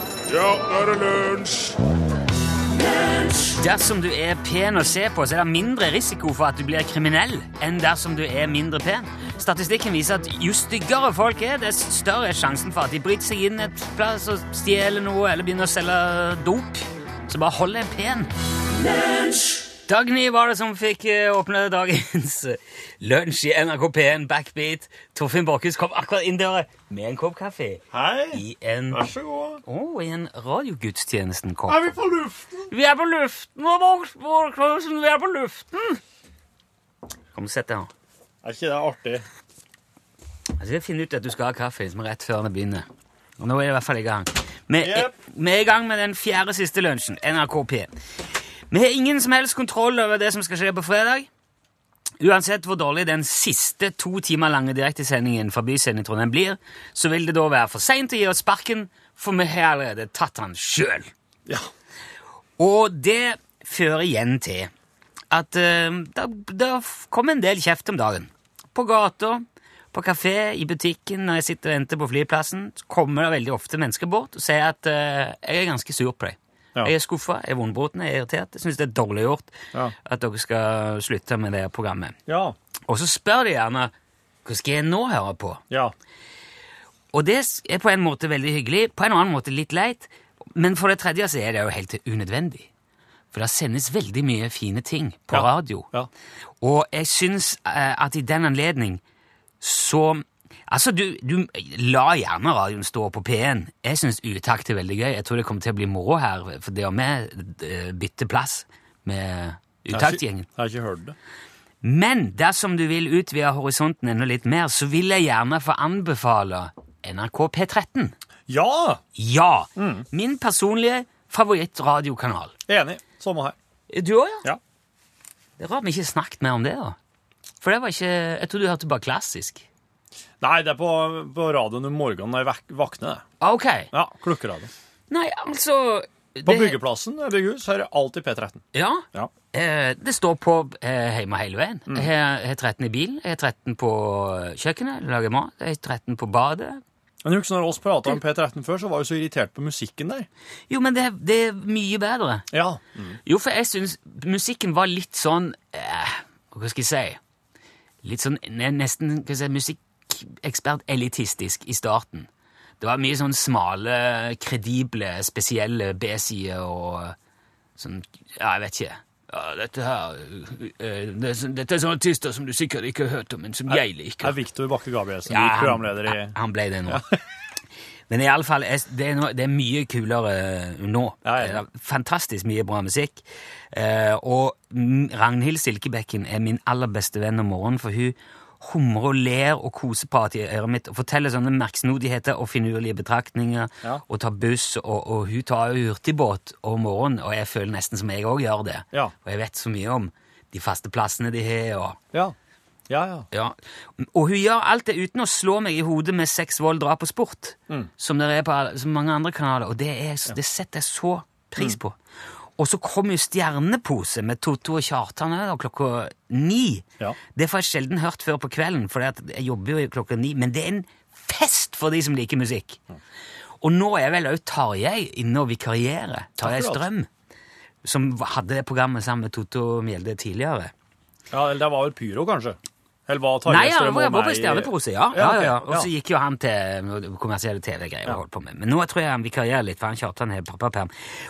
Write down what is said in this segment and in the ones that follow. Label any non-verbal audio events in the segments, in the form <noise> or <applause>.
er det lunsj! Dersom du er pen å se på, så er det mindre risiko for at du blir kriminell enn dersom du er mindre pen. Statistikken viser at jo styggere folk er, dess større er sjansen for at de bryter seg inn et plass og stjeler noe eller begynner å selge dop. Så bare hold deg pen. Dagny var det som fikk eh, åpne dagens eh, lunsj i NRK P1 Backbeat. Torfinn Borchhus kom akkurat inn døra med en kopp kaffe. Hei! I en, Vær så god. oh, i en radiogudstjenesten-kopp. Er vi på luften? Vi er på luften, og Bård Klausen, vi er på luften! Kom, sett deg Altså, her. Er ikke det artig? Jeg skal finne ut at du skal ha kaffe som er rett før den begynner. Og nå er det i hvert fall i gang. Vi er, Yep. vi er i gang med den fjerde siste lunsjen, NRK P1. Vi har ingen som helst kontroll over det som skal skje på fredag. Uansett hvor dårlig den siste to timer lange direktesendingen fra Byscenen i Trondheim blir, så vil det da være for seint å gi oss sparken, for vi har allerede tatt han sjøl. Ja. Og det fører igjen til at uh, da, da kom en del kjeft om dagen. På gata, på kafé, i butikken, når jeg sitter og venter på flyplassen, så kommer det veldig ofte mennesker bort og sier at eh, jeg er ganske sur på deg. Ja. Jeg er skuffa, jeg er vondbroten, jeg er irritert. Jeg syns det er dårlig gjort Ja. at dere skal slutte med det programmet. Ja. Og så spør de gjerne hva skal jeg nå høre på? Ja. Og det er på en måte veldig hyggelig, på en annen måte litt leit, men for det tredje så er det jo helt unødvendig. For det sendes veldig mye fine ting på Ja. radio. Ja. Og jeg syns eh, at i den anledning så Altså, du, du la gjerne radioen stå på P1. Jeg syns Utakt er veldig gøy. Jeg tror det kommer til å bli moro her, for det og vi eh, bytter plass med Utakt-gjengen. Jeg har ikke hørt det. Men dersom du vil utvide horisonten enda litt mer, så vil jeg gjerne få anbefale NRK P13. Ja! Ja! Min personlige favorittradiokanal. Enig. Samme her. Du òg, ja? Ja. Det er rart vi ikke snakket mer om det. da. For det var ikke Jeg tror du hørte bare klassisk. Nei, det er på, på radioen om morgenen når jeg vak våkner. det. Ok. Ja, klukkeradio. Nei, altså På det- byggeplassen når jeg bygger hus, så er det alltid P13. Ja. Ja. Eh, det står på eh, hjemme hele veien. Jeg har jeg har 13 i bilen, jeg har 13 på kjøkkenet, lager mat, jeg har 13 på badet. Men husk når oss prata om P13 før, så var vi så irritert på musikken der. Jo, men det, det er mye bedre. Ja. Jo, for jeg syns musikken var litt sånn eh, Hva skal jeg si Litt sånn ne- nesten hva skal jeg si, musikkekspert-elitistisk i starten. Det var mye sånn smale, kredible, spesielle B-sider og sånn Ja, jeg vet ikke. Ja, dette her eh, det er sånn- Dette er sånne artister som du sikkert ikke har hørt om, men som jeg liker. Er Viktor Bakke Gabrielsen Ja, ja, han- programleder i Han, han ble det nå. <laughs> Men i alle fall, jeg- det er, noe, det er mye kulere eh, nå. Ja, ja. Det er Fantastisk mye bra musikk. Eh, og mm, Ragnhild Silkebekken er min aller beste venn om morgenen, for hun humrer og ler og koseprater i øret mitt og forteller sånne merksnodigheter og finurlige betraktninger Ja. og tar buss, og, og hun tar jo hurtigbåt om morgenen, og jeg føler nesten som jeg òg gjør det. Ja. Og jeg vet så mye om de faste plassene de har, og Ja. Ja, ja. ja, Og hun gjør alt det uten å slå meg i hodet med sex, vold, drap og sport, Mm. som det er på alle- som mange andre kanaler, og det, er, det setter jeg så Mm. pris på. Og så kom jo Stjernepose med Totto og Kjartan her da, klokka ni. Ja. Det får jeg sjelden hørt før på kvelden, for jeg jobber jo klokka ni, men det er en fest for de som liker musikk. Mm. Og nå er vel òg Tarjei inne og vikarierer. Tarjei Akkurat. Strøm, som hadde det programmet sammen med Totto Mjelde tidligere. Ja, eller det var vel Pyro, kanskje? Eller var Tarjei Nei, han Strøm var, og var på meg i- Stjernepose, ja. ja, ja, ja. ok, Og så gikk jo han til noe kommersielle TV-greier. og holdt på med. Men nå tror jeg han vikarierer litt, for han Kjartan har pappaperm.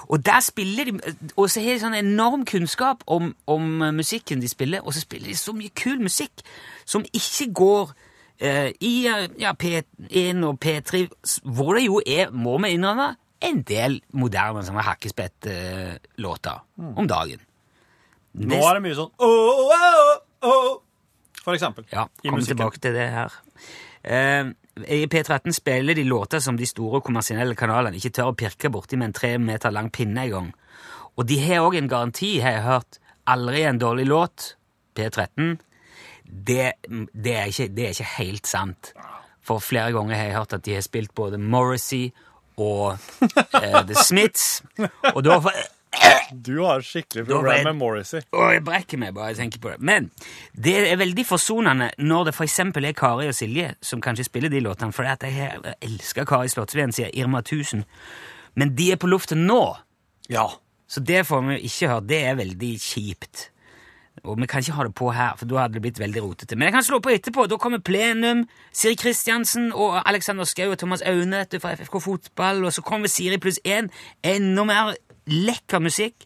Og der spiller de, og så har de sånn enorm kunnskap om, om eh, musikken de spiller, og så spiller de så mye kul musikk som ikke går eh, i eh, ja, P1 og P3, s- hvor det jo er, må vi innrømme, en del moderne sånne hakkespett-låter om dagen. Nå er det mye sånn oh, oh, oh, For eksempel. Ja, i kom musikken. tilbake til det her. Eh, I P13 spiller de låter som de store kommersielle kanalene ikke tør å pirke borti med en tre meter lang pinne en gang. Og de har òg en garanti, har jeg hørt. Aldri en dårlig låt. P13. Det, det, er ikke, det er ikke helt sant. For flere ganger har jeg hørt at de har spilt både Morrissey og eh, The Smiths. Og da får Du har skikkelig Da problem var- med Morrissey. og jeg brekker meg bare jeg tenker på det. Men det er veldig forsonende når det f.eks. er Kari og Silje som kanskje spiller de låtene, for at jeg har elska Karis Slottsveen, sier Irma 1000. Men de er på luften nå, Ja. så det får vi jo ikke høre. Det er veldig kjipt. Og vi kan ikke ha det på her, for da hadde det blitt veldig rotete. Men jeg kan slå på etterpå. Da kommer Plenum, Siri Kristiansen og Alexander Skau og Thomas Aune vet du, fra FFK Fotball, og så kommer Siri pluss én. Enda mer lekker musikk.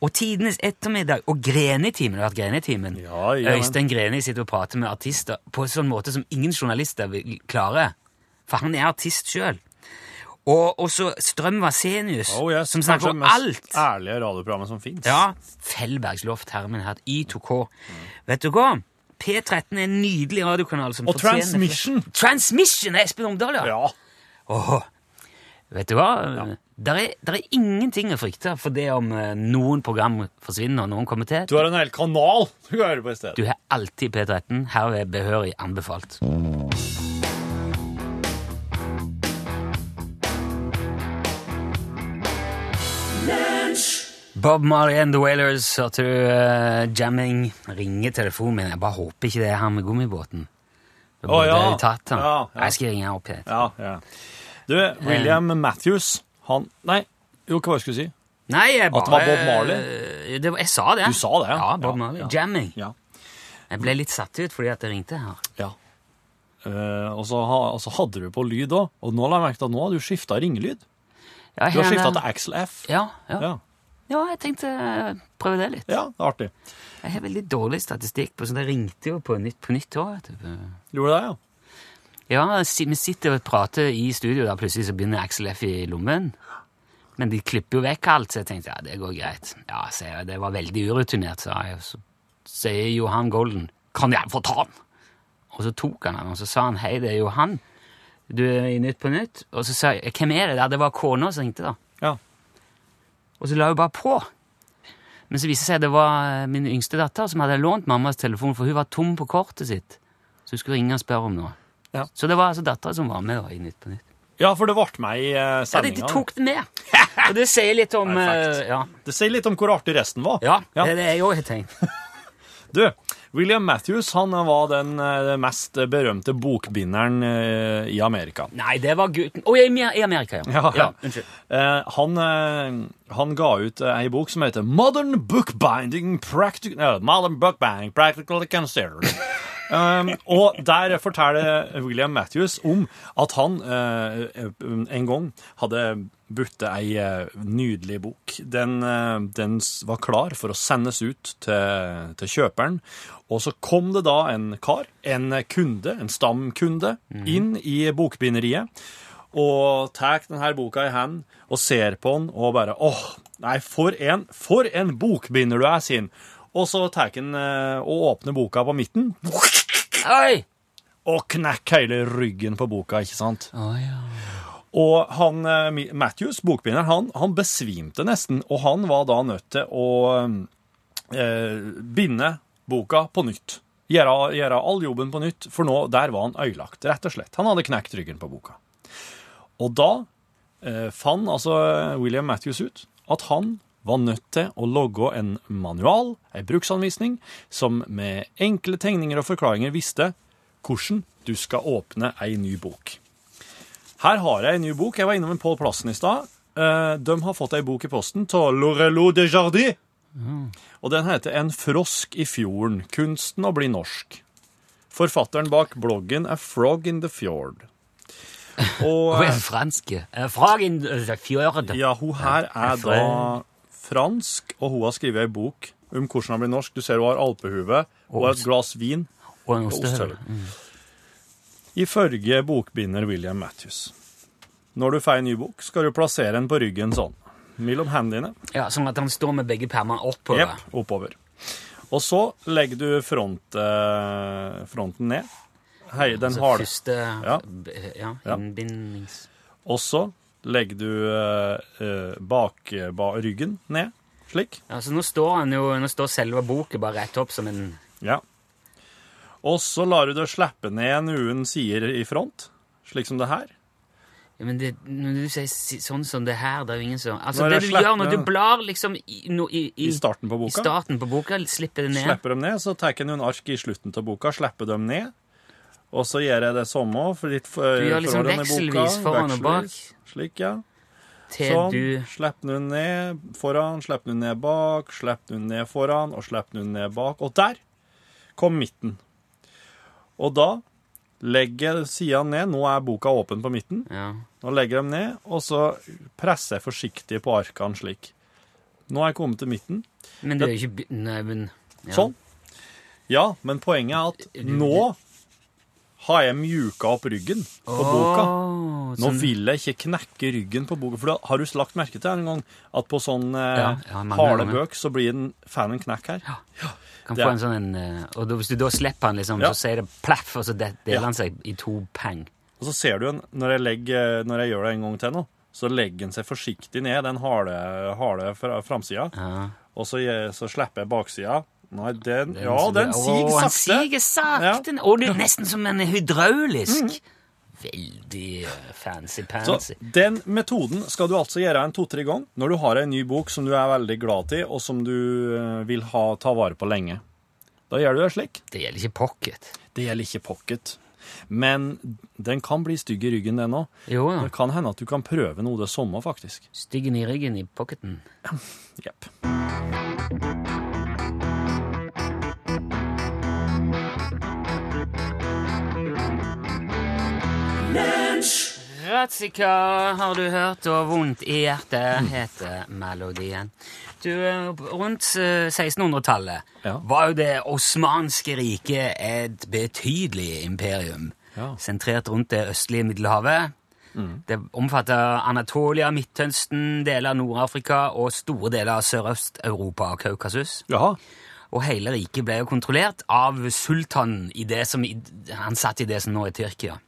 Og Tidenes ettermiddag og Greni-timen. Det har vært Greni-timen. Ja, ja, men- Øystein Greni sitter og prater med artister på en sånn måte som ingen journalister vil klare. For han er artist sjøl. Og og så Strøm Vasenius, Oh, yes. som snakker Kanskje om det mest alt. ærlige radioprogrammet som fins. Ja, Fellbergs Loft, Hermen Herd, Y2K. Mm. Vet du hva? P13 er en nydelig radiokanal som Og fortjener- Transmission. Transmission er Espen Omdal, ja! Ja. Åh, vet du hva? Der, er, der er ingenting å frykte for det om eh, noen program forsvinner og noen kommer til. Du har en hel kanal du kan høre på i stedet. Du har alltid P13. Her er behørig anbefalt. Bob Marley and The Wailers, hørte du eh, jamming? Ringe telefonen min. Jeg bare håper ikke det er han med gummibåten. Da burde ja. jeg tatt han. Ja, ja. Jeg skal ringe han opp igjen. Ja, ja. Du, William Matthews, han Nei, jo, hva var det jeg skulle si? Nei, jeg bare At det var Bob Marley? eh, Det var, jeg sa det. Du sa det, ja. Ja, Bob Ja, Marley. ja. Jamming. Ja. Jeg ble litt satt ut fordi at jeg ringte her. Ja. Eh, og, så ha, og så hadde du på lyd òg, og nå la jeg merke til at nå har du skifta ringelyd. Ja, Du har her- skifta til Axel F. ja, ja. Ja. Ja, jeg tenkte eh, prøve det litt. ja, det er artig. Jeg har veldig dårlig statistikk på sånn. Jeg ringte jo på nytt på nytt òg. Gjorde du det, ja? Ja, si- vi sitter og prater i studio, da plutselig så begynner Axel F i lommen. Men de klipper jo vekk alt, så jeg tenkte ja, det går greit. Ja, sier jeg, det var veldig urutinert, sa jeg. Så sier Johan Golden kan jeg få ta den? Og så tok han den, og så sa han hei, det er Johan. Du er i Nytt på Nytt. Og så sa jeg hvem er det der? Det var kona som ringte, da. ja? Og så la hun bare på. Men så viste det seg at det var eh, min yngste datter som hadde lånt mammas telefon, for hun var tom på kortet sitt. Så hun skulle ringe og spørre om noe. Ja. Så det var altså dattera som var med da, i Nytt på Nytt. Ja, for det ble meg i eh, Ja, de, sendinga. de tok det <laughs> med! Og det sier litt om Perfekt. eh, ja. Det sier litt om hvor artig resten var. ja, det er det jeg òg har tenkt. Du, William Matthews han var den eh, mest berømte bokbinderen eh, i Amerika. Nei, det var gutten Å, i Amer- i Amerika, ja. Ja. unnskyld. Eh, han, eh, han ga ut eh, ei bok som heter Modern Bookbinding Practical nei, Modern Bookbinding Practically Considered. Um, og der forteller William Matthews om at han eh, en gang hadde butta ei eh, nydelig bok. Den, eh, den s- var klar for å sendes ut til, til kjøperen. Og så kom det da en kar, en kunde, en stamkunde, inn i bokbinderiet og tar den her boka i hand og ser på den og bare åh, nei, for en, for en bokbinder du er, sin. Og så tar han eh, og åpner boka på midten Oi! og knekker hele ryggen på boka, ikke sant? Å, ja. Og han, eh, Mi- Matthews, bokbinderen, han, han besvimte nesten, og han var da nødt til å eh, binde boka på nytt. Gjøre, gjøre all jobben på nytt, for nå, der var han øyelagt, rett og slett. Han hadde knekt ryggen på boka. Og da eh, fant altså William Matthews ut at han var nødt til å logge en manual, ei bruksanvisning, som med enkle tegninger og forklaringer visste hvordan du skal åpne ei ny bok. Her har jeg en ny bok. Jeg var innom en Pål Plassen i stad. Eh, De har fått ei bok i posten av Lorello de Jardin. Og den heter 'En frosk i fjorden. Kunsten å bli norsk'. Forfatteren bak bloggen 'A Frog in the Fjord'. Og, Hun er fransk. Eh, Fra in the fjord. ja, hun her er fra- da fransk, og hun har skrevet ei bok om hvordan hun blir norsk. Du ser hun har alpehue og et glass vin Og en og ostehøvel. Mm. ostehøvel. Ifølge bokbinder William Matthews. Når du får en ny bok, skal du plassere den på ryggen sånn. Mellom hendene. Ja, sånn at han står med begge permene oppover. Jepp, oppover. Og så legger du front, eh, fronten ned. Hei, den Så har du. Første Ja. b- ja, Ja. innbindings... Og så legger du eh, eh, bak, ba, ryggen ned. Slik. Ja, så nå står, han jo, nå står selve boken bare rett opp som en Ja. Og så lar du det slippe ned noen sider i front, slik som det her. ja, men det, Når du sier si- sånn som det her, det er jo ingen som Altså, Når jeg det du slipper- gjør når du blar liksom i, no, i, i, I starten på i boka. starten på boka, slipper det ned Slipper dem ned, så tar jeg noen ark i slutten av boka, slipper dem ned. Og så gjør jeg det samme for litt for, Du gjør liksom forholdene i boka, vekselvis foran og bak. vekselvis. Slik, ja. Til sånn. du Slipp den ned foran, slipp den ned bak, slipp den ned foran og slipp den ned bak. Og der kom midten. Og da legger jeg sidene ned. Nå er boka åpen på midten. Ja. Nå legger jeg dem ned, og så presser jeg forsiktig på arkene slik. Nå er jeg kommet til midten. Men du er jo ikke by- Nei, men ja. Sånn. Ja, men poenget er at nå har jeg mjuka opp ryggen på boka. Åh, Nå sånn. vil jeg ikke knekke ryggen på boka, for da har du lagt merke til en gang at på sånn eh, Ja, ja, mange harde ganger. bøk så blir den fan en knekk her. Kan Det få er- en sånn en, eh, og da, hvis du da slipper han, liksom, Ja. så sier det plaff, og så de- deler Ja. han seg i to pang. Og så ser du en, når jeg, legger, eh, når jeg gjør det en gang til nå, så legger den seg forsiktig ned, den harde, harde fra- framsida, Ja. og så, jeg- så slipper jeg baksida. Nei, den, Den- ja, den siger Åh, han sakte. siger sakte. Og det er nesten som en eh, hydraulisk. Veldig eh, fancy-pansy. Så den metoden skal du altså gjøre en to-tre gang når du har en ny bok som du er veldig glad til, og som du eh, vil ha ta vare på lenge. Da gjør du det slik. Det gjelder ikke pocket. Det gjelder ikke pocket. Men den kan bli stygg i ryggen, den òg. Jo ja. Det kan hende at du kan prøve noe det samme, faktisk. Styggen i ryggen i pocketen. Jepp. Ratzika, har du hørt, og vondt i hjertet heter melodien. Du, eh, rundt eh, 1600-tallet Ja. var jo det osmanske riket et betydelig imperium, Ja. sentrert rundt det østlige Middelhavet. Det omfatter Anatolia, Midtøsten, deler av Nord-Afrika og store deler av Sørøst-Europa og Kaukasus. Jaha. Og hele riket ble jo kontrollert av sultanen i det som, i- han satt i det som nå er Tyrkia,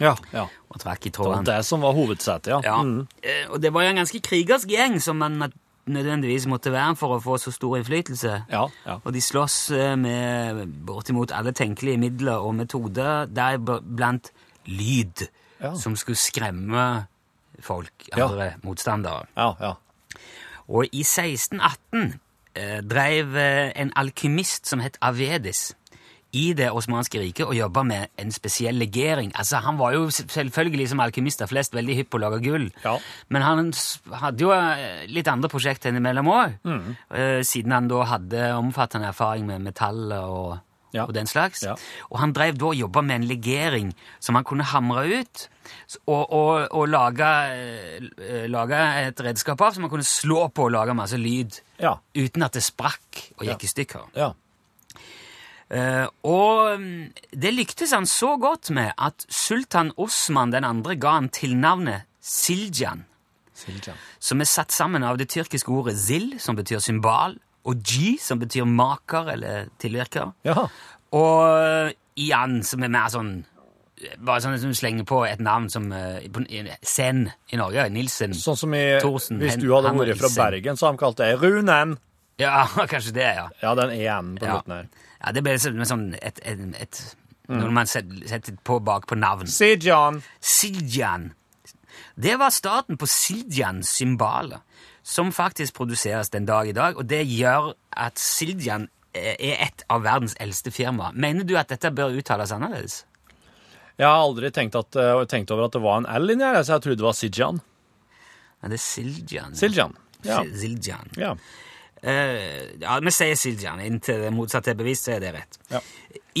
Ja. ja. og trakk i Det var trådene. det som var hovedsetet, ja. Ja. Mm. Eh, Og det var jo en ganske krigersk gjeng som man nat- nødvendigvis måtte være for å få så stor innflytelse. ja, ja. Og de slåss eh, med bortimot alle tenkelige midler og metoder, deriblant lyd, Ja. som skulle skremme folk, Ja. andre motstandere. ja, ja. Og i 1618 eh, dreiv eh, en alkymist som het Avedis i det osmanske riket og jobba med en spesiell legering. Altså, Han var jo s- selvfølgelig som alkymister flest veldig hypp på å lage gull, Ja. men han s- hadde jo eh, litt andre prosjekt innimellom òg, Mm. eh, siden han da hadde omfattende erfaring med metaller og, Ja. og den slags. Ja. Og han drev da og jobba med en legering som han kunne hamre ut s- og, og, og lage, eh, lage et redskap av som han kunne slå på og lage masse lyd Ja. uten at det sprakk og gikk i stykker. ja. Eh, og mm, det lyktes han så godt med at sultan Osman den andre ga han tilnavnet Siljan, Silja. som er satt sammen av det tyrkiske ordet zil, som betyr symbal, og ji, som betyr maker eller tilvirker. Ja. Og eh, Ian, som er mer sånn Bare sånn at du slenger på et navn som eh, på- i- Sen i Norge. Nilsen. Sånn som i Thorsen, Hvis Hen- du hadde vært Henriksen. fra Bergen, så hadde de kalt det Runen. Ja, <laughs> kanskje det, ja. Ja, den en på Ja. slutten her. ja det ble liksom en sånn et, et, et Når man set- setter på bak på navn. Sijan. Siljan. Det var starten på Siljans symbaler, som faktisk produseres den dag i dag, og det gjør at Siljan eh, er et av verdens eldste firma. Mener du at dette bør uttales annerledes? Jeg har aldri tenkt, at, eh, tenkt over at det var en L inni her, så jeg trodde det var Sijan. Ja, det er Siljan. Siljan. Ja. Si- Siljan. ja. Eh, ja, vi sier Siljan. Inntil det motsatte er bevist, så er det rett. Ja.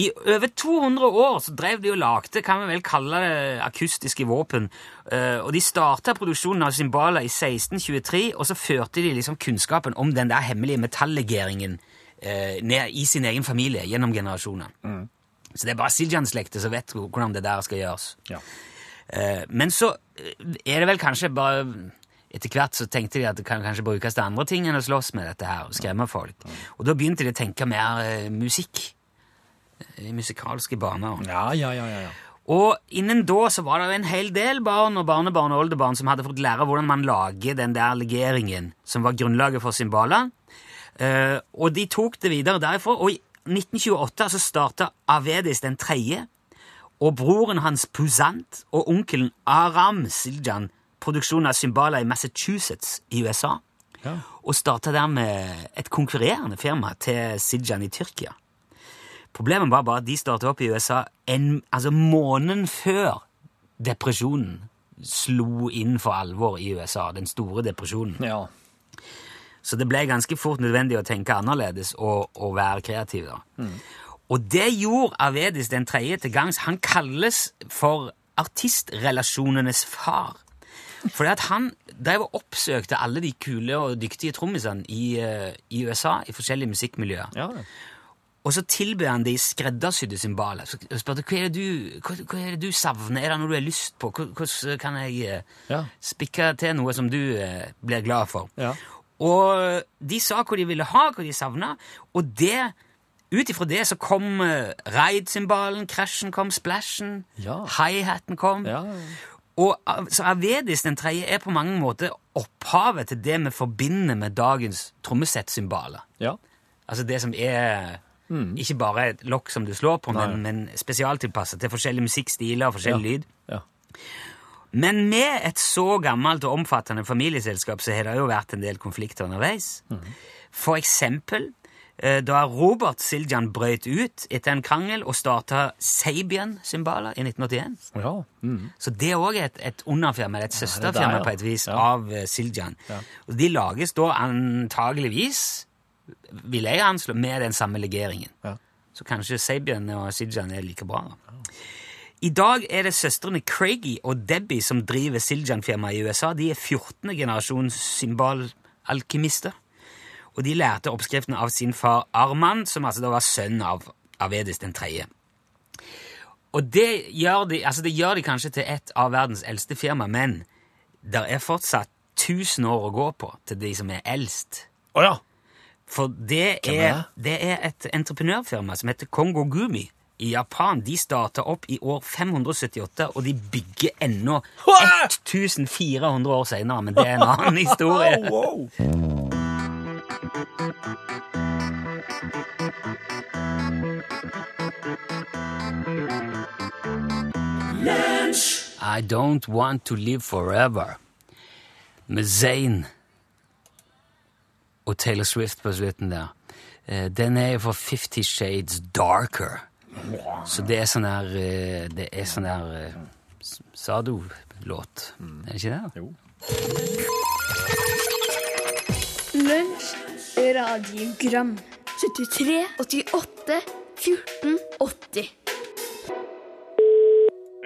I over 200 år så drev de og lagde, kan vi vel kalle det, akustiske våpen. Eh, og de starta produksjonen av cymbaler i 1623, og så førte de liksom kunnskapen om den der hemmelige metallegeringen eh, ned i sin egen familie gjennom generasjoner. Så det er bare Siljan-slekta som vet hvordan det der skal gjøres. ja. Eh, Men så eh, er det vel kanskje bare Etter hvert så tenkte de at det kan kanskje brukes til andre ting enn å slåss med dette her og skremme folk. Og da begynte de å tenke mer eh, musikk. I musikalske baner. Ja, ja, ja, ja. ja. Og innen da så var det jo en hel del barn og barnebarn og oldebarn som hadde fått lære hvordan man lager den der legeringen som var grunnlaget for symbalene. Eh, og de tok det videre derifra, og i 1928 så starta Avedis den tredje, og broren hans Puzant og onkelen Aram Siljan produksjon av cymbaler i Massachusetts i USA, Ja. og starta dermed et konkurrerende firma til Siljan i Tyrkia. Problemet var bare at de starta opp i USA en, altså måneden før depresjonen slo inn for alvor i USA, den store depresjonen. Ja. Så det ble ganske fort nødvendig å tenke annerledes og, og være kreativ. da. Og det gjorde Avedis den tredje til gangs. Han kalles for artistrelasjonenes far. Fordi at han drev og oppsøkte alle de kule og dyktige trommisene i, eh, i USA, i forskjellige musikkmiljøer. ja det. Og så tilbød han de skreddersydde symboler. Så spurte hva er det du, hva, hva er det du savner, er det noe du har lyst på? Hva- Hvordan kan jeg eh, Ja. spikke til noe som du eh, blir glad for? Ja. Og eh, de sa hva de ville ha, hva de savna, og det ut ifra det så kom eh, raid-symbalen, krasjen kom, splashen, Ja. hi-haten kom. Ja. Og av- så Avedis den tredje er på mange måter opphavet til det vi forbinder med dagens trommesett-symboler. ja. Altså det som er Mm. ikke bare et lokk som du slår på, men, men spesialtilpasset til forskjellige musikkstiler og forskjellig lyd. ja. Men med et så gammelt og omfattende familieselskap så har det jo vært en del konflikter underveis. Mhm. For eksempel eh, da Robert Siljan brøt ut etter en krangel og starta Sabian-symboler i 1981. Ja. Mm. Så det òg er også et, et underfirma, eller et søsterfirma der, ja. på et vis, Ja. av eh, Siljan. Og de lages da antageligvis, vil jeg anslå, med den samme legeringen. Ja. Så kanskje Sabian og Siljan er like bra. da. I dag er det søstrene Craigie og Debbie som driver Siljan-firmaet i USA. De er 14. generasjons symbolalkymister. Og de lærte oppskriften av sin far Arman, som altså da var sønn av Avedis den tredje. Og det gjør, de, altså det gjør de kanskje til et av verdens eldste firma, men det er fortsatt 1000 år å gå på til de som er eldst. Å ja. For det Hvem er er, det er et entreprenørfirma som heter Kongo Gumi i Japan. De starta opp i år 578, og de bygger ennå Hva? 1400 år seinere. Men det er en <laughs> annen historie. Wow, wow. I Don't Want To Live Forever med Zayn og Taylor Swift på slutten der. Eh, Den er jo for Fifty Shades Darker. Så det er sånn her eh, Det er sånn her eh, s- Sado-låt. Er det ikke det? da? Jo. Lunsj, radiogram 73, 88, 14, 80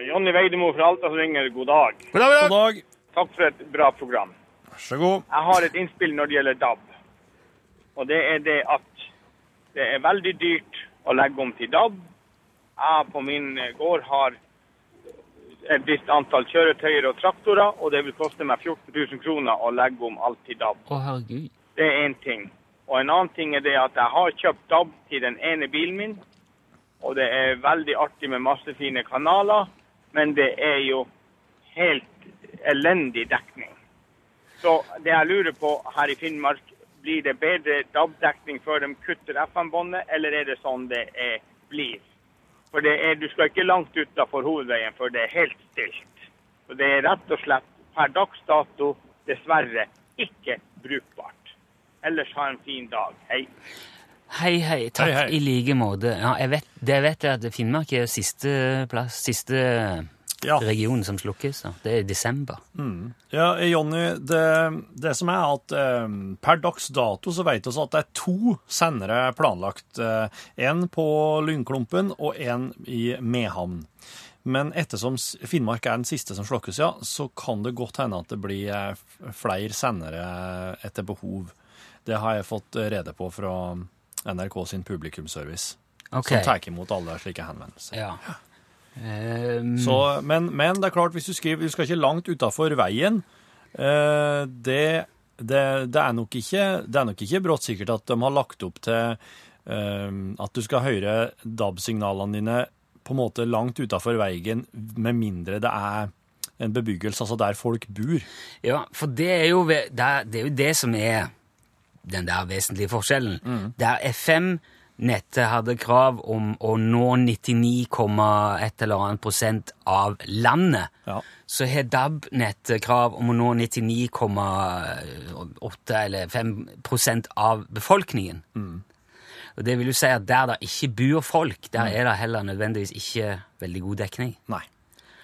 Jonny Veidemo fra Alta som ringer. God dag. God dag. Takk for et bra program. Vær så god. Jeg har et innspill når det gjelder DAB. Og det er det at det er veldig dyrt å legge om til DAB. Jeg på min gård har et visst antall kjøretøyer og traktorer, og det vil koste meg 14 000 kroner å legge om alt til DAB. Å, herregud. Det er én ting. Og en annen ting er det at jeg har kjøpt DAB til den ene bilen min. Og det er veldig artig med masse fine kanaler, men det er jo helt elendig dekning. Så det jeg lurer på her i Finnmark, blir det bedre DAB-dekning før de kutter FM-båndet, eller er det sånn det er, blir? For det er, du skal ikke langt utafor hovedveien, for det er helt stilt. Så det er rett og slett per dags dato dessverre ikke brukbart. Ellers ha en fin dag. Hei. Hei, hei. Takk Hei, hei. i like måte. Ja, jeg vet, det jeg vet er at Finnmark er siste plass, siste Ja. region som slukkes. da. Det er i desember. Ja, Jonny, det, det som er at eh, per dags dato så vet vi at det er to sendere planlagt. Eh, en på Lynklumpen og en i Mehamn. Men ettersom s- Finnmark er den siste som slokkes, ja, så kan det godt hende at det blir eh, f- flere sendere eh, etter behov. Det har jeg fått eh, rede på fra NRK sin publikumsservice, Ok. som tar imot alle slike henvendelser. Ja. Ehm, Så, men, men det er klart, hvis du skriver Du skal ikke langt utafor veien. eh, det, det, det, er nok ikke, det er nok ikke bråttsikkert at de har lagt opp til eh, at du skal høre DAB-signalene dine på en måte langt utafor veien, med mindre det er en bebyggelse, altså der folk bor. ja, for det er, jo, ve- det er, det er jo det som er den der vesentlige forskjellen. Mm. Der FM-nettet hadde krav om å nå 99,1 eller annet prosent av landet, Ja. så har DAB-nettet krav om å nå 99,8 eller 5 prosent av befolkningen. Og det vil jo si Mm. at der det ikke bor folk, der er det heller nødvendigvis ikke veldig god dekning. Nei.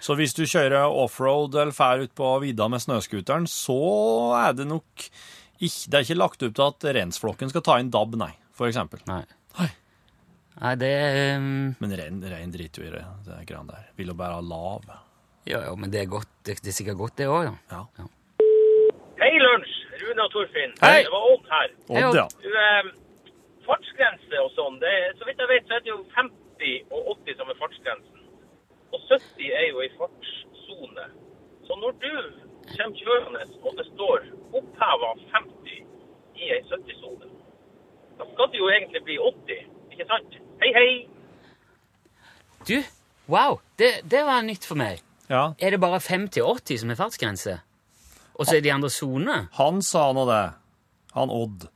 Så hvis du kjører offroad eller fær ut på vidda med snøskuteren, så er det nok ikke, Det er ikke lagt opp til at reinsflokken skal ta inn DAB, nei, for eksempel. Nei. Oi. Nei, det ehm, Men rein, rein driter jo i det, det greiene der. Vil jo bare ha lav. Jo, jo, men det er godt. Det, det er sikkert godt, det òg, da. Ja. Hei, lunsj! Rune og Torfinn. Hei. Det var Odd her. Hei, Odd, ja. Du, eh, fartsgrense og sånn, det er, så vidt jeg vet, så er det jo 50 og 80 som er fartsgrensen. Og 70 er jo ei fartssone. Så når du kommer kjørende og det står oppheva 50 i ei 70-sone, da skal det jo egentlig bli 80, ikke sant? Hei, hei! Du, wow! Det, det var nytt for meg. ja. Er det bare 50-80 som er fartsgrense? Og så er de andre sonene? Han sa nå det. Han Odd.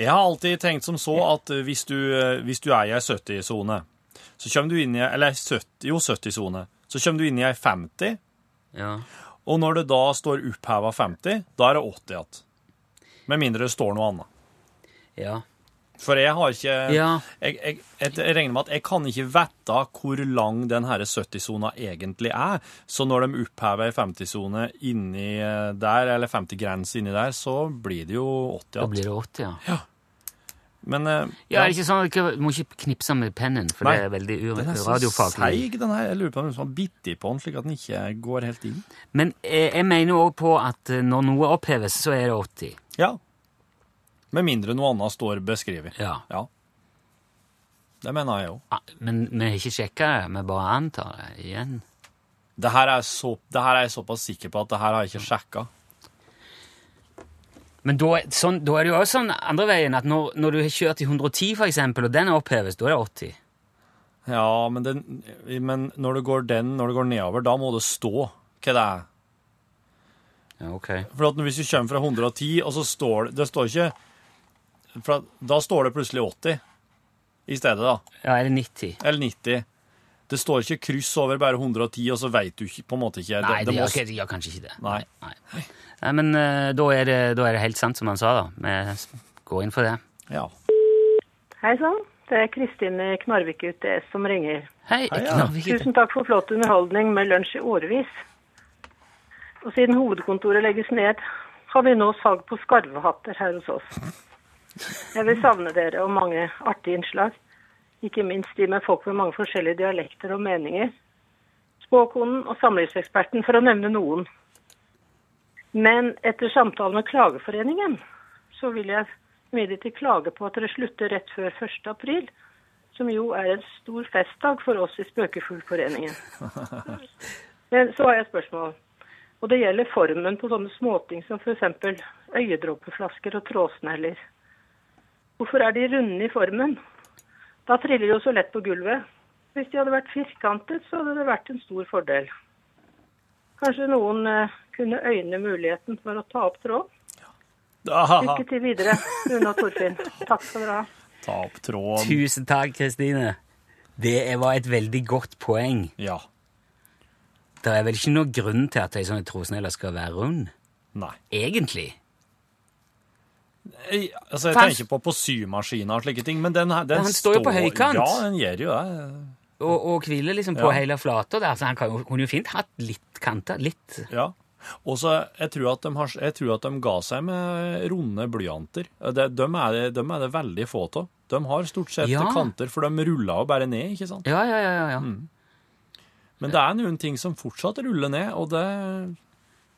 Jeg har alltid tenkt som så at eh, hvis du, eh, hvis du er i ei 70-sone, så kommer du inn i Eller 70, jo, 70-sone. Så kommer du inn i ei 50, Ja. og når det da står oppheva 50, da er det 80 igjen. Med mindre det står noe annet. ja. For jeg har ikke Ja. jeg, jeg, jeg, jeg regner med at jeg kan ikke vite hvor lang den herre 70-sona egentlig er. Så når de opphever ei 50-sone inni eh, der, eller 50-grense inni der, så blir det jo 80 Da igjen. blir det 80, ja. Men eh, Ja, er det ikke sånn at Du må ikke knipse med pennen, for Nei. det er veldig ur- den er så radiofaglig. seig, den her. Jeg lurer på om noen som har bitt i på den, slik at den ikke går helt inn. Men eh, jeg mener òg på at eh, når noe oppheves, så er det 80. Ja. Med mindre noe annet står beskrevet. Ja. Ja. Det mener jeg òg. Ah, Men vi har ikke sjekka det, vi bare antar det igjen. Det her er så- det her er jeg såpass sikker på at det her har jeg ikke sjekka. Men da, er- sånn, da er det jo også sånn andre veien, at når, når du har kjørt i 110 for eksempel, og den oppheves, da er det 80. Ja, men, den, men når du går den, når du går nedover, da må det stå hva det er. Ja, ok. For at hvis du kommer fra 110, og så står det Det står ikke for at, Da står det plutselig 80 i stedet, da. Ja, er det 90? Eller 90. Det står ikke kryss over bare 110, og så veit du ikke, på en måte ikke Nei, det, må gjør, ikke- det gjør kanskje ikke det. Nei. Nei, Nei, men eh, da, er det, da er det helt sant som han sa, da. Vi s- går inn for det. Ja. Hei sann, det er Kristin i Knarvik UTS som ringer. Hei, Hei, jeg ja. klarer ikke Tusen takk for flott underholdning med lunsj i årevis. Og siden hovedkontoret legges ned, har vi nå salg på skarvehatter her hos oss. Jeg vil savne dere og mange artige innslag, ikke minst de med folk med mange forskjellige dialekter og meninger. Spåkonen og samlivseksperten, for å nevne noen. Men etter samtale med Klageforeningen, så vil jeg imidlertid klage på at dere slutter rett før 1. april som jo er en stor festdag for oss i Spøkefuglforeningen. Men så har jeg et spørsmål. Og det gjelder formen på sånne småting som f.eks. øyedråpeflasker og trådsneller. Hvorfor er de runde i formen? Da triller de jo så lett på gulvet. Hvis de hadde vært firkantet, så hadde det vært en stor fordel. Kanskje noen eh, kunne øyne muligheten for å ta opp tråd? Aha, Lykke til videre, Rune og Torfinn. Takk skal dere ha. ta opp tråden. Tusen takk, Kristine. Det er- var et veldig godt poeng. Ja. Det er vel ikke noen grunn til at ei sånn trosnelle skal være rund, Nei. egentlig. Jeg, altså, jeg Fast- tenker på på symaskiner og slike ting, men den, her- Ja, den han står jo på høykant. Ja, den gjør jo det. Og, og hviler liksom på Ja. hele flata der, så han kan, jo- kunne jo fint hatt litt kanter. Litt. Ja. Og så jeg tror at de har, jeg tror at de ga seg med runde blyanter. Det, de, er det, de er det veldig få av. De har stort sett Ja. kanter, for de ruller jo bare ned, ikke sant? Ja, ja, ja. ja, ja. Men det er noen ting som fortsatt ruller ned, og det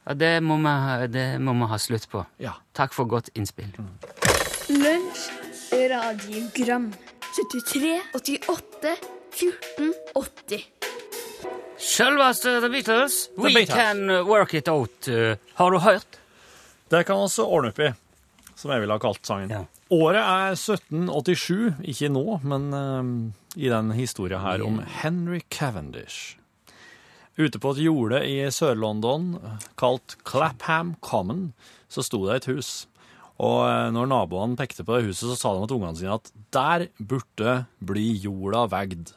ja det, må vi, ha- det må vi ha slutt på. Ja. Takk for godt innspill. Lunsj, radiogram 73, 88, 14, 80 Sjølvaste The Beatles, we The Beatles. can uh, work it out. uh, Har du hørt? Det kan vi ordne opp i, som jeg ville ha kalt sangen. Ja. Året er 1787, ikke nå, men eh, i den historia her om Henry Cavendish. Ute på et jorde i Sør-London, kalt Clapham Common, så sto det et hus. Og eh, når naboene pekte på det huset, så sa de til ungene sine at der burde bli jorda vegd.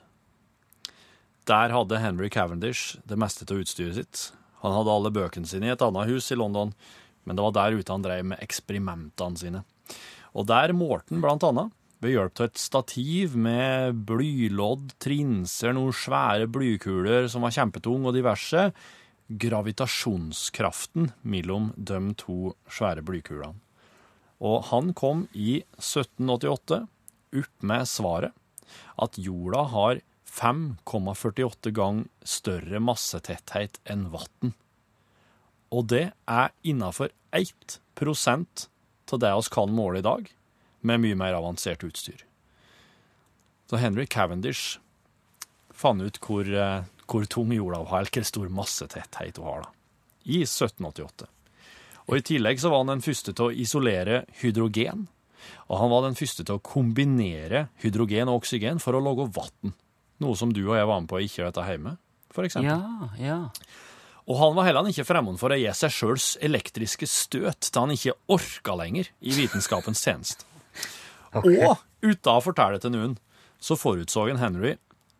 Der hadde Henry Cavendish det meste av utstyret sitt. Han hadde alle bøkene sine i et annet hus i London, men det var der ute han drev med eksperimentene sine. Og der målte han blant annet ved hjelp av et stativ med blylodd, trinser, noen svære blykuler som var kjempetung og diverse, gravitasjonskraften mellom de to svære blykulene. Og han kom i 1788 opp med svaret at jorda har 5,48 gang større massetetthet enn vann. Og det er innafor 1 av det vi kan måle i dag, med mye mer avansert utstyr. Så Henry Cavendish fant ut hvor, eh, hvor tung jorda var, eller hvor stor massetetthet hun har, da, i 1788. Og I tillegg så var han den første til å isolere hydrogen. Og han var den første til å kombinere hydrogen og oksygen for å lage vann. Noe som du og jeg var med på ikke vet av hjemme, for eksempel. Ja, ja. Og han var heller ikke fremmed for å gi seg sjøls elektriske støt da han ikke orka lenger i vitenskapens tjenest. Og uten å fortelle til noen, så forutså en Henry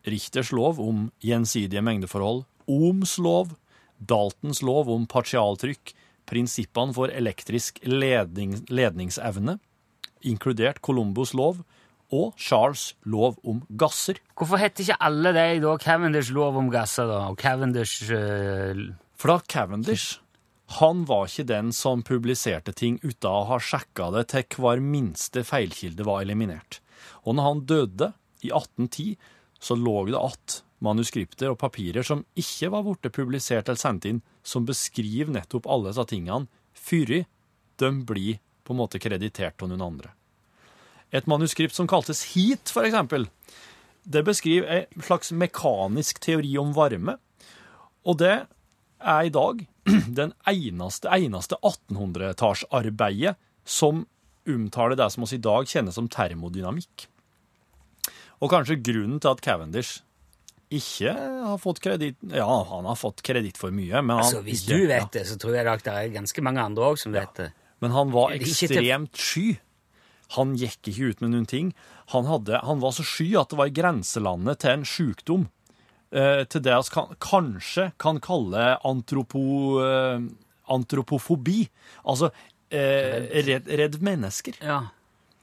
Richters lov om gjensidige mengdeforhold, Ohms lov, Daltons lov om partialtrykk, prinsippene for elektrisk ledning, ledningsevne, inkludert Columbus lov, og Charles lov om gasser. Hvorfor heter ikke alle de da Cavendish lov om gasser, da? Og Cavendish eh, For da Cavendish, han var ikke den som publiserte ting uten å ha sjekka det til hver minste feilkilde var eliminert. Og når han døde i 1810, så lå det att manuskripter og papirer som ikke var blitt publisert eller sendt inn, som beskriver nettopp alle disse tingene, før de blir på en måte kreditert av noen andre. Et manuskript som kaltes Heat, for eksempel, det beskriver en slags mekanisk teori om varme, og det er i dag <clears throat> den eneste, eneste 1800-tallsarbeidet som omtaler det som oss i dag kjenner som termodynamikk. Og kanskje grunnen til at Cavendish ikke har fått kreditt Ja, han har fått kreditt for mye, men han, Altså, hvis du ja, vet det, så tror jeg nok det er ganske mange andre òg som vet det. men han var Ikke til- ekstremt sky. Han gikk ikke ut med noen ting. Han, hadde, han var så sky at det var i grenselandet til en sjukdom. Eh, til det vi kan, kanskje kan kalle antropo, eh, antropofobi. Altså eh, redd, redd mennesker. Ja.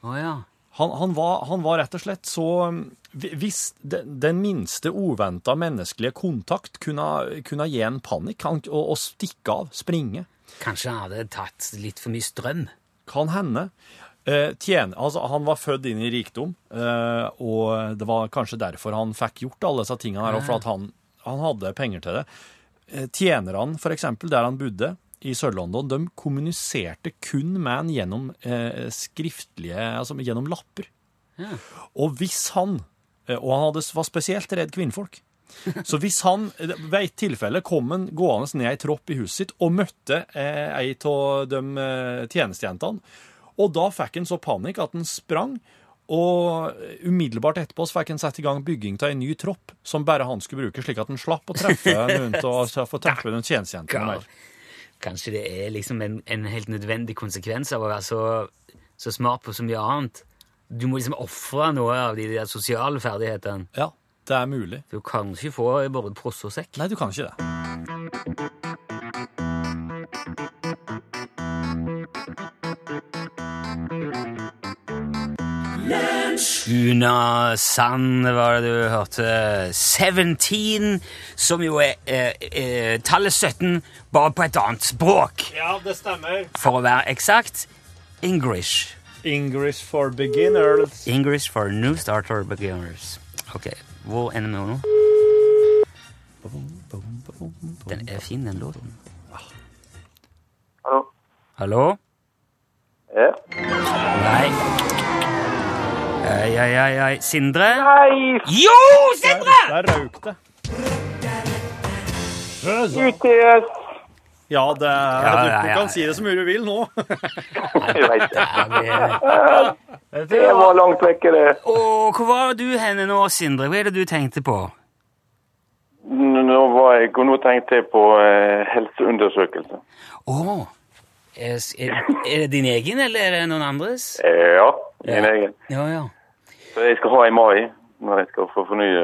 Å ja. Han, han, var, han var rett og slett så eh, Hvis den, den minste uventa menneskelige kontakt kunne, kunne gi en panikk han, og, og stikke av, springe. Kanskje han hadde tatt litt for mye strøm? Kan hende. Eh, tjene, altså, han var født inn i rikdom, eh, og det var kanskje derfor han fikk gjort alle disse tingene her, og for at han, han hadde penger til det. Eh, tjenerne, for eksempel, der han bodde i Sør-London, de kommuniserte kun med han gjennom eh, skriftlige, altså gjennom lapper. Og hvis han, eh, og han hadde, var spesielt redd kvinnfolk, så hvis han eh, ved et tilfelle kom en gående ned ei tropp i huset sitt og møtte eh, ei av de eh, tjenestejentene, og da fikk han så panikk at han sprang, og umiddelbart etterpå så fikk han satt i gang bygging av ei ny tropp som bare han skulle bruke, slik at han slapp å treffe noen av slapp å treffe noen tjenestejentene mer. Kanskje det er liksom en, en helt nødvendig konsekvens av å være så, så smart på så mye annet. Du må liksom ofre noe av de der sosiale ferdighetene. Ja, det er mulig. Du kan ikke få bare prosse og sekk. Nei, du kan ikke det. Una Sand var det du hørte. 17, som jo er eh, eh, tallet 17, bare på et annet språk. Ja, det stemmer. For å være eksakt English. English for beginners. English for new starter beginners. Ok, hvor ender vi nå? Den er fin, den låten. Hallo? Hallo? Ja. Nei. Ei, ei, ei, ei. Sindre? Hei, Jo, Sindre! Der røyk det. UTS! Ja, det er, Ja, du, ja, ja. du kan si det så mye du vil nå. Jeg vet ikke. Ja, vi- Det var langt vekke, det. Og hvor var du henne nå, Sindre? Hva er det du tenkte på? Nå, var jeg, og nå tenkte jeg på eh, helseundersøkelse. Å, er, er, er det din egen, eller er det noen andres? Eh, Ja, min Ja. egen. Ja, <laughs> ja. Så jeg skal ha i mai, når jeg skal få fornye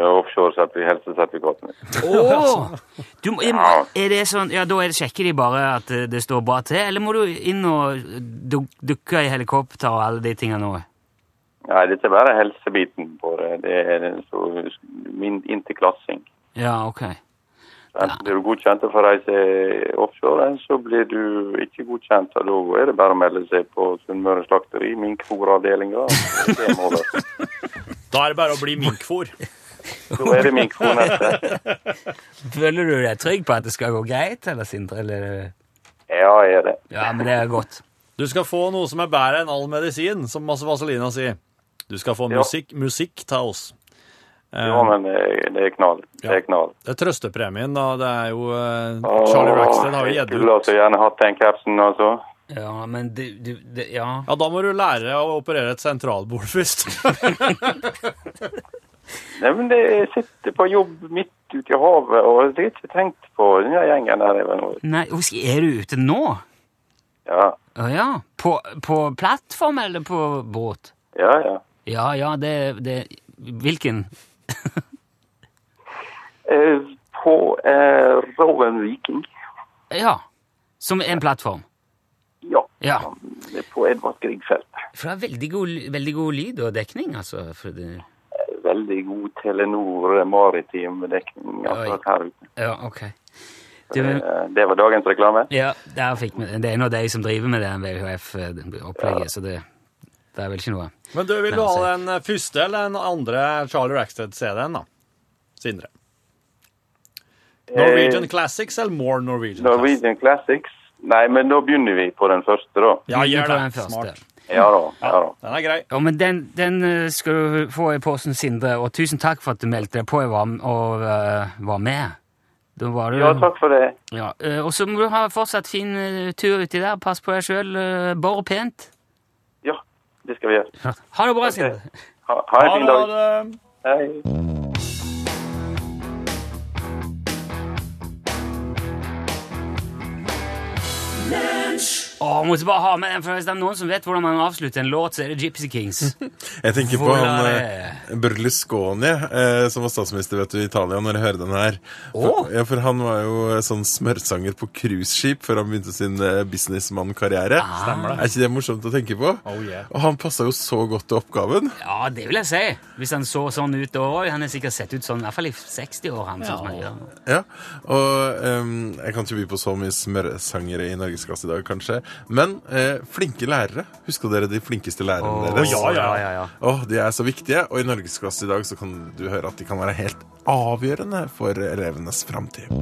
offshore-helsesertifikatene. Å! Du, må- Ja. er det sånn, ja, da er det, sjekker de bare at eh, det står bra til, eller må du inn og duk- dukke i helikopter og alle de tingene nå? Nei, dette er bare helsebiten på det. Det er så min, inntil klassing. Ja, ok. Enten blir du godkjent for å reise offshore, eller så blir du ikke godkjent. og Da er det bare å melde seg på Sunnmøre Slakteri, minkfòravdelinga. Det må være. Da er det bare å bli minkfôr. Da er det minkfòr neste. Føler du deg trygg på at det skal gå greit, eller Sindre? Eller? eh? Ja, er det. Ja, men det er godt. Du skal få noe som er bedre enn all medisin, som Masse Vaselina sier. Du skal få Ja. musikk, musikk ta oss. Eh, Ja, men det er- det er knall. Det er knall. Det er trøstepremien, da. Det er jo eh, Charlie Rackstead har jo Jeg gitt skulle ut. altså gjerne hatt den capsen, altså. Ja, men du, du det, Ja. Ja, da må du lære å operere et sentralbord først. <laughs> Nei, men det, jeg sitter på jobb midt ute i havet, og det er ikke tenkt på den her gjengen der. Even, og- Nei, husk, er du ute nå? Ja, Å ja. På, på plattform eller på båt? ja, ja. Ja, ja, det, det Hvilken? Eh, På eh, Rowan Viking. Ja. Som en plattform. Ja. Ja. Det er På Edvard Griegfeld. For det er veldig god, ly- veldig god lyd og dekning, altså. For det, Veldig god Telenor eh, maritim dekning akkurat her ute. ja, ok. Du, Eh, Det var dagens reklame. ja, der fikk vi Det er nå de som driver med det VHF-opplegget, eh, så det, det er vel ikke noe Men du, vil du ha den eh, første eller den andre Charlie Rackstead-CD-en, da? Sindre. Norwegian Classics eller More Norwegian Classics? Norwegian Classics. Nei, men da begynner vi på den første, da. Ja, Vi gjør tar det. den første. Smart. Ja da. Ja, da. Den er grei. Ja, men den, den eh, skal du få i posten, Sindre, og tusen takk for at du meldte deg på og var, og, eh, var med. Da var du, ja takk for det. Ja, eh, og så må du ha fortsatt fin eh, tur uti der. Pass på deg sjøl. Bor pent. Ja, det skal vi gjøre. Ha det bra, Sindre. Ha, ha en Ha fin det, dag. ha det. Hei. Å, måtte bare ha med den, for Hvis det er noen som vet hvordan man avslutter en låt, så er det Gypsy Kings. Jeg tenker på Hvor han er eh, Berlusconi, eh, som var statsminister vet du, i Italia, når jeg hører den her. For, ja, for han var jo eh, sånn smørsanger på cruiseskip før han begynte sin eh, businessmann-karriere. Ah. Stemmer det. Er ikke det morsomt å tenke på? Oh, yeah. Og han passa jo så godt til oppgaven. Ja, det vil jeg si. Hvis han så sånn ut da òg. Han er sikkert sett ut sånn, i hvert fall i 60 år. han, sånn som han gjør. Ja, og ehm, jeg kan ikke by på så mye smørsangere i norgesklasse i dag, kanskje. Men eh, flinke lærere. Husker dere de flinkeste lærerne deres? ja, ja. Åh, de er så viktige, og i norgesklasse i dag så kan du høre at de kan være helt avgjørende for elevenes framtid.